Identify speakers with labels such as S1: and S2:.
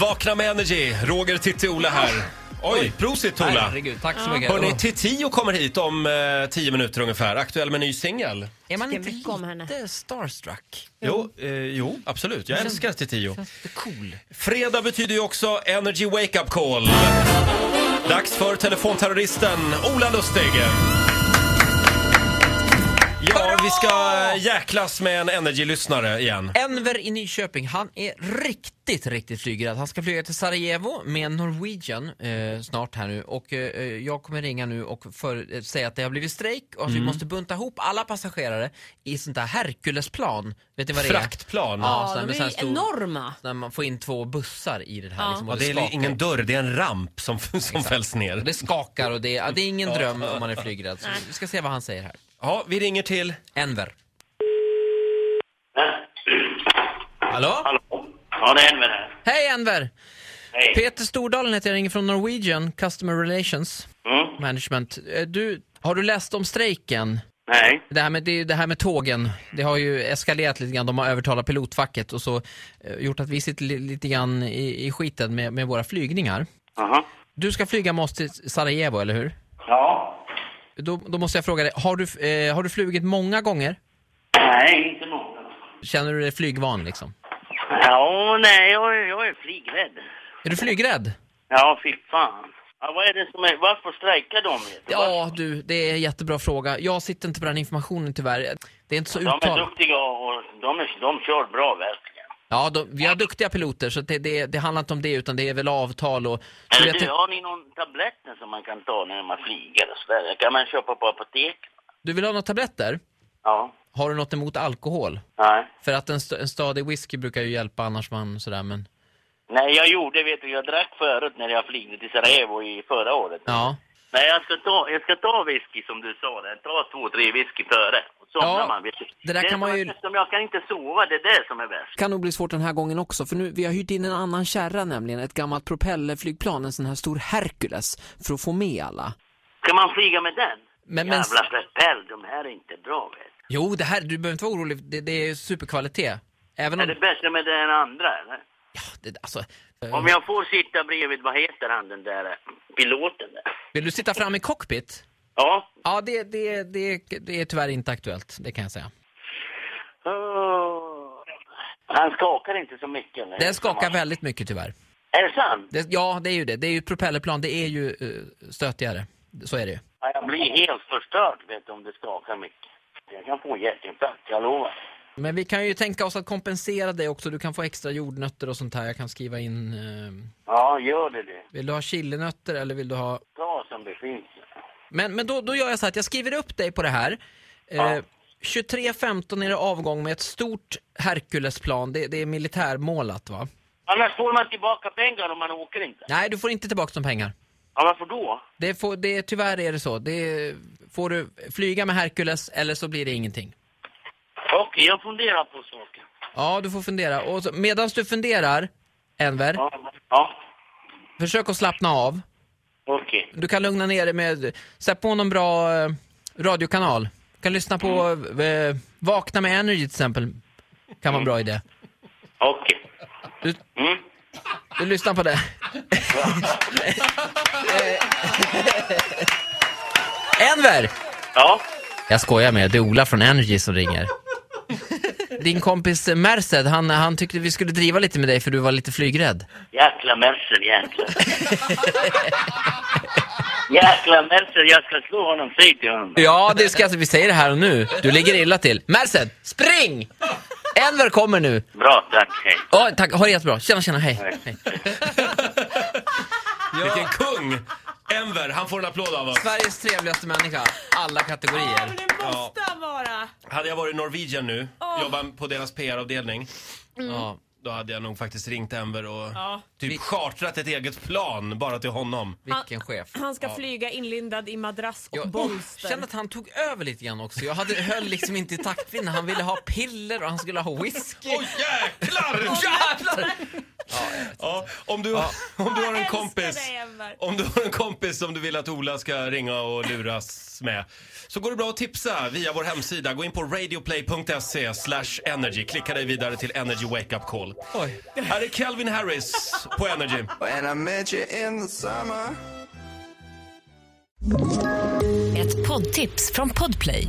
S1: Vakna med Energy, Roger, Titti, Ola här. Oj, prosit Ola!
S2: Herregud, tack så mycket.
S1: Hörni,
S2: Åh.
S1: Titiyo kommer hit om eh, tio minuter ungefär. Aktuell med ny singel.
S2: är man
S3: Tycker
S2: inte
S3: mycket om henne.
S2: lite starstruck?
S1: Jo, eh, jo, absolut. Jag älskar Titiyo.
S2: Känns lite cool.
S1: Fredag betyder ju också Energy Wake Up Call. Dags för telefonterroristen Ola Lustig. Ja, vi ska jäklas med en Energy-lyssnare igen.
S2: Enver i Nyköping, han är riktigt, riktigt flygrädd. Han ska flyga till Sarajevo med Norwegian eh, snart här nu och eh, jag kommer ringa nu och för, eh, säga att det har blivit strejk och att
S1: Mm.
S2: vi måste bunta ihop alla passagerare i sånt där Herkulesplan. Vet ni vad det
S1: Fraktplan.
S2: är? Ja,
S3: Ja,
S2: sån här
S3: de
S2: med
S3: är
S2: sån här
S3: ju
S2: stor-
S3: enorma.
S2: När man får in två bussar i det här
S3: Ja.
S2: liksom, och
S1: Ja, det är
S2: skakar.
S1: ingen dörr, det är en ramp som, som fälls ner.
S2: Det skakar och det, ja, det är ingen dröm om man är flygrädd. Så vi ska se vad han säger här.
S1: Ja, vi ringer till...
S2: Enver.
S4: Hallå? Ja, det är Enver här.
S2: Hej Enver!
S4: Hej.
S2: Peter Stordalen heter jag, ringer från Norwegian Customer Relations
S4: Mm.
S2: Management. Eh, Du, har du läst om strejken?
S4: Nej.
S2: Det här, med, det, det här med tågen, det har ju eskalerat lite grann. De har övertalat pilotfacket och så eh, gjort att vi sitter li, lite grann i, i skiten med, med våra flygningar.
S4: Aha.
S2: Du ska flyga med oss till Sarajevo, eller hur?
S4: Ja.
S2: Då, då måste jag fråga dig, har du, eh, har du flugit många gånger?
S4: Nej, inte många.
S2: Känner du dig flygvan liksom?
S4: Ja, nej, jag, är- jag är flygrädd.
S2: Är du flygrädd?
S4: Ja, fy fan. Ja, vad är det som är... Varför strejkar de? vet du?
S2: Ja du, det är en jättebra fråga. Jag sitter inte på den informationen tyvärr. Det är inte så
S4: De är
S2: uttalat.
S4: duktiga och de, är, de kör bra verkligen.
S2: Ja, de, vi har duktiga piloter så det, det, det handlar inte om det utan det är väl avtal och... Så
S4: Eller
S2: jag
S4: du,
S2: tänk,
S4: har ni någon tabletter som man kan ta när man flyger och sådär? kan man köpa på apotek.
S2: du vill ha några tabletter?
S4: Ja.
S2: Har du något emot alkohol?
S4: Nej.
S2: För att en, st- en stadig whisky brukar ju hjälpa annars man sådär men...
S4: Nej, jag gjorde, vet du, jag drack förut när jag flygde till Sarajevo i förra året.
S2: Ja.
S4: Nej, jag ska, ta, jag ska ta whisky som du sa. Där. Ta två, tre whisky före. Och somnar
S2: Ja,
S4: man. Vet du.
S2: det där kan
S4: som
S2: man
S4: är
S2: ju-
S4: bäst, Som jag kan inte sova, det är det som är värst.
S5: kan nog bli svårt den här gången också för nu, vi har hyrt in en annan kärra nämligen, ett gammalt propellerflygplan, en sån här stor Hercules för att få med alla.
S4: Ska man flyga med den?
S2: Men- men-
S4: Jävla propell, de här är inte bra vet du.
S2: Jo, det här, du behöver inte vara orolig. Det, det är superkvalitet. Även
S4: Är
S2: om...
S4: det bättre med den andra eller?
S2: Ja, det, alltså, eh,
S4: Om jag får sitta bredvid, vad heter han den där eh, piloten där?
S2: Vill du sitta fram i cockpit?
S4: Ja.
S2: Ja, det, det, det, det är tyvärr inte aktuellt, det kan jag säga.
S4: Åh. Han skakar inte så mycket. eller?
S2: Den skakar
S4: Som han-
S2: väldigt mycket tyvärr.
S4: Är det sant?
S2: Det, ja, det är ju det. Det är ju ett propellerplan. Det är ju eh, stötigare. Så är det ju.
S4: Ja, jag blir helt förstörd vet du, om det skakar mycket. Jag kan få en hjärtinfarkt, jag lovar.
S2: Men vi kan ju tänka oss att kompensera dig också. Du kan få extra jordnötter och sånt här. Jag kan skriva in... Eh,
S4: Ja, gör det det.
S2: vill du ha chilinötter eller vill du ha...
S4: bra som det finns.
S2: Men, men då, då gör jag så här att jag skriver upp dig på det här. Eh,
S4: Ja.
S2: 23.15 är det avgång med ett stort Herkulesplan. Det, det är militärmålat va?
S4: Annars får man tillbaka pengar om man åker inte.
S2: Nej, du får inte tillbaka de pengar.
S4: Ja, varför då?
S2: Det får, det, tyvärr är det så. Det, får du flyga med Herkules eller så blir det ingenting.
S4: Okej, jag funderar på saken.
S2: Ja, du får fundera. Och så, medans du funderar, Enver,
S4: Ja, ja.
S2: försök att slappna av.
S4: okej.
S2: Du kan lugna ner dig med, sätt på någon bra eh, radiokanal. Du kan lyssna på eh, Vakna med Energy till exempel. Kan vara en bra idé.
S4: Okej.
S2: Du,
S4: Mm.
S2: du lyssnar på det. Enver!
S4: Ja,
S2: Jag skojar med det är Ola från Energy som ringer. Din kompis eh, Merced, han, han tyckte vi skulle driva lite med dig för du var lite flygrädd.
S4: jäkla Mercer, jäkla. jäkla Mercer, jag ska slå honom, säg till honom.
S2: Ja, det ska vi säger det här och nu. Du ligger illa till. Merced, spring! Enver kommer nu.
S4: Bra, tack, hej.
S2: Ja, tack. Ha det jättebra. Tjena, tjena. Hej.
S4: Hej.
S2: hej.
S1: Vilken kung! Enver, han får en applåd av oss.
S2: Sveriges trevligaste människa. Alla
S3: Ja, men
S2: kategorier.
S3: det måste han vara.
S1: Hade jag varit Norwegian nu, jobbat på deras PR-avdelning,
S2: Ja.
S1: då hade jag nog faktiskt ringt Enver och
S3: Ja.
S1: typ chartrat ett eget plan bara till honom.
S2: Vilken chef.
S3: Han ska flyga inlindad i madrass och
S2: Jag
S3: bolster.
S2: kände att han tog över lite grann också. Jag hade, höll liksom inte i taktpinnen. Han ville ha piller och han skulle ha whisky.
S1: Åh jäklar!
S2: Jävlar!
S1: Ja, om, du, om du har en
S3: Jag älskar
S1: kompis
S3: dig, Emmer.
S1: Om du har en kompis som du vill att Ola ska ringa och luras med så går det bra att tipsa via vår hemsida. Gå in på radioplay.se slash energy. Klicka dig vidare till Energy Wake Up Call.
S2: Oj.
S1: Här är Calvin Harris på Energy.
S6: When I met you in the summer
S7: Ett poddtips från Podplay.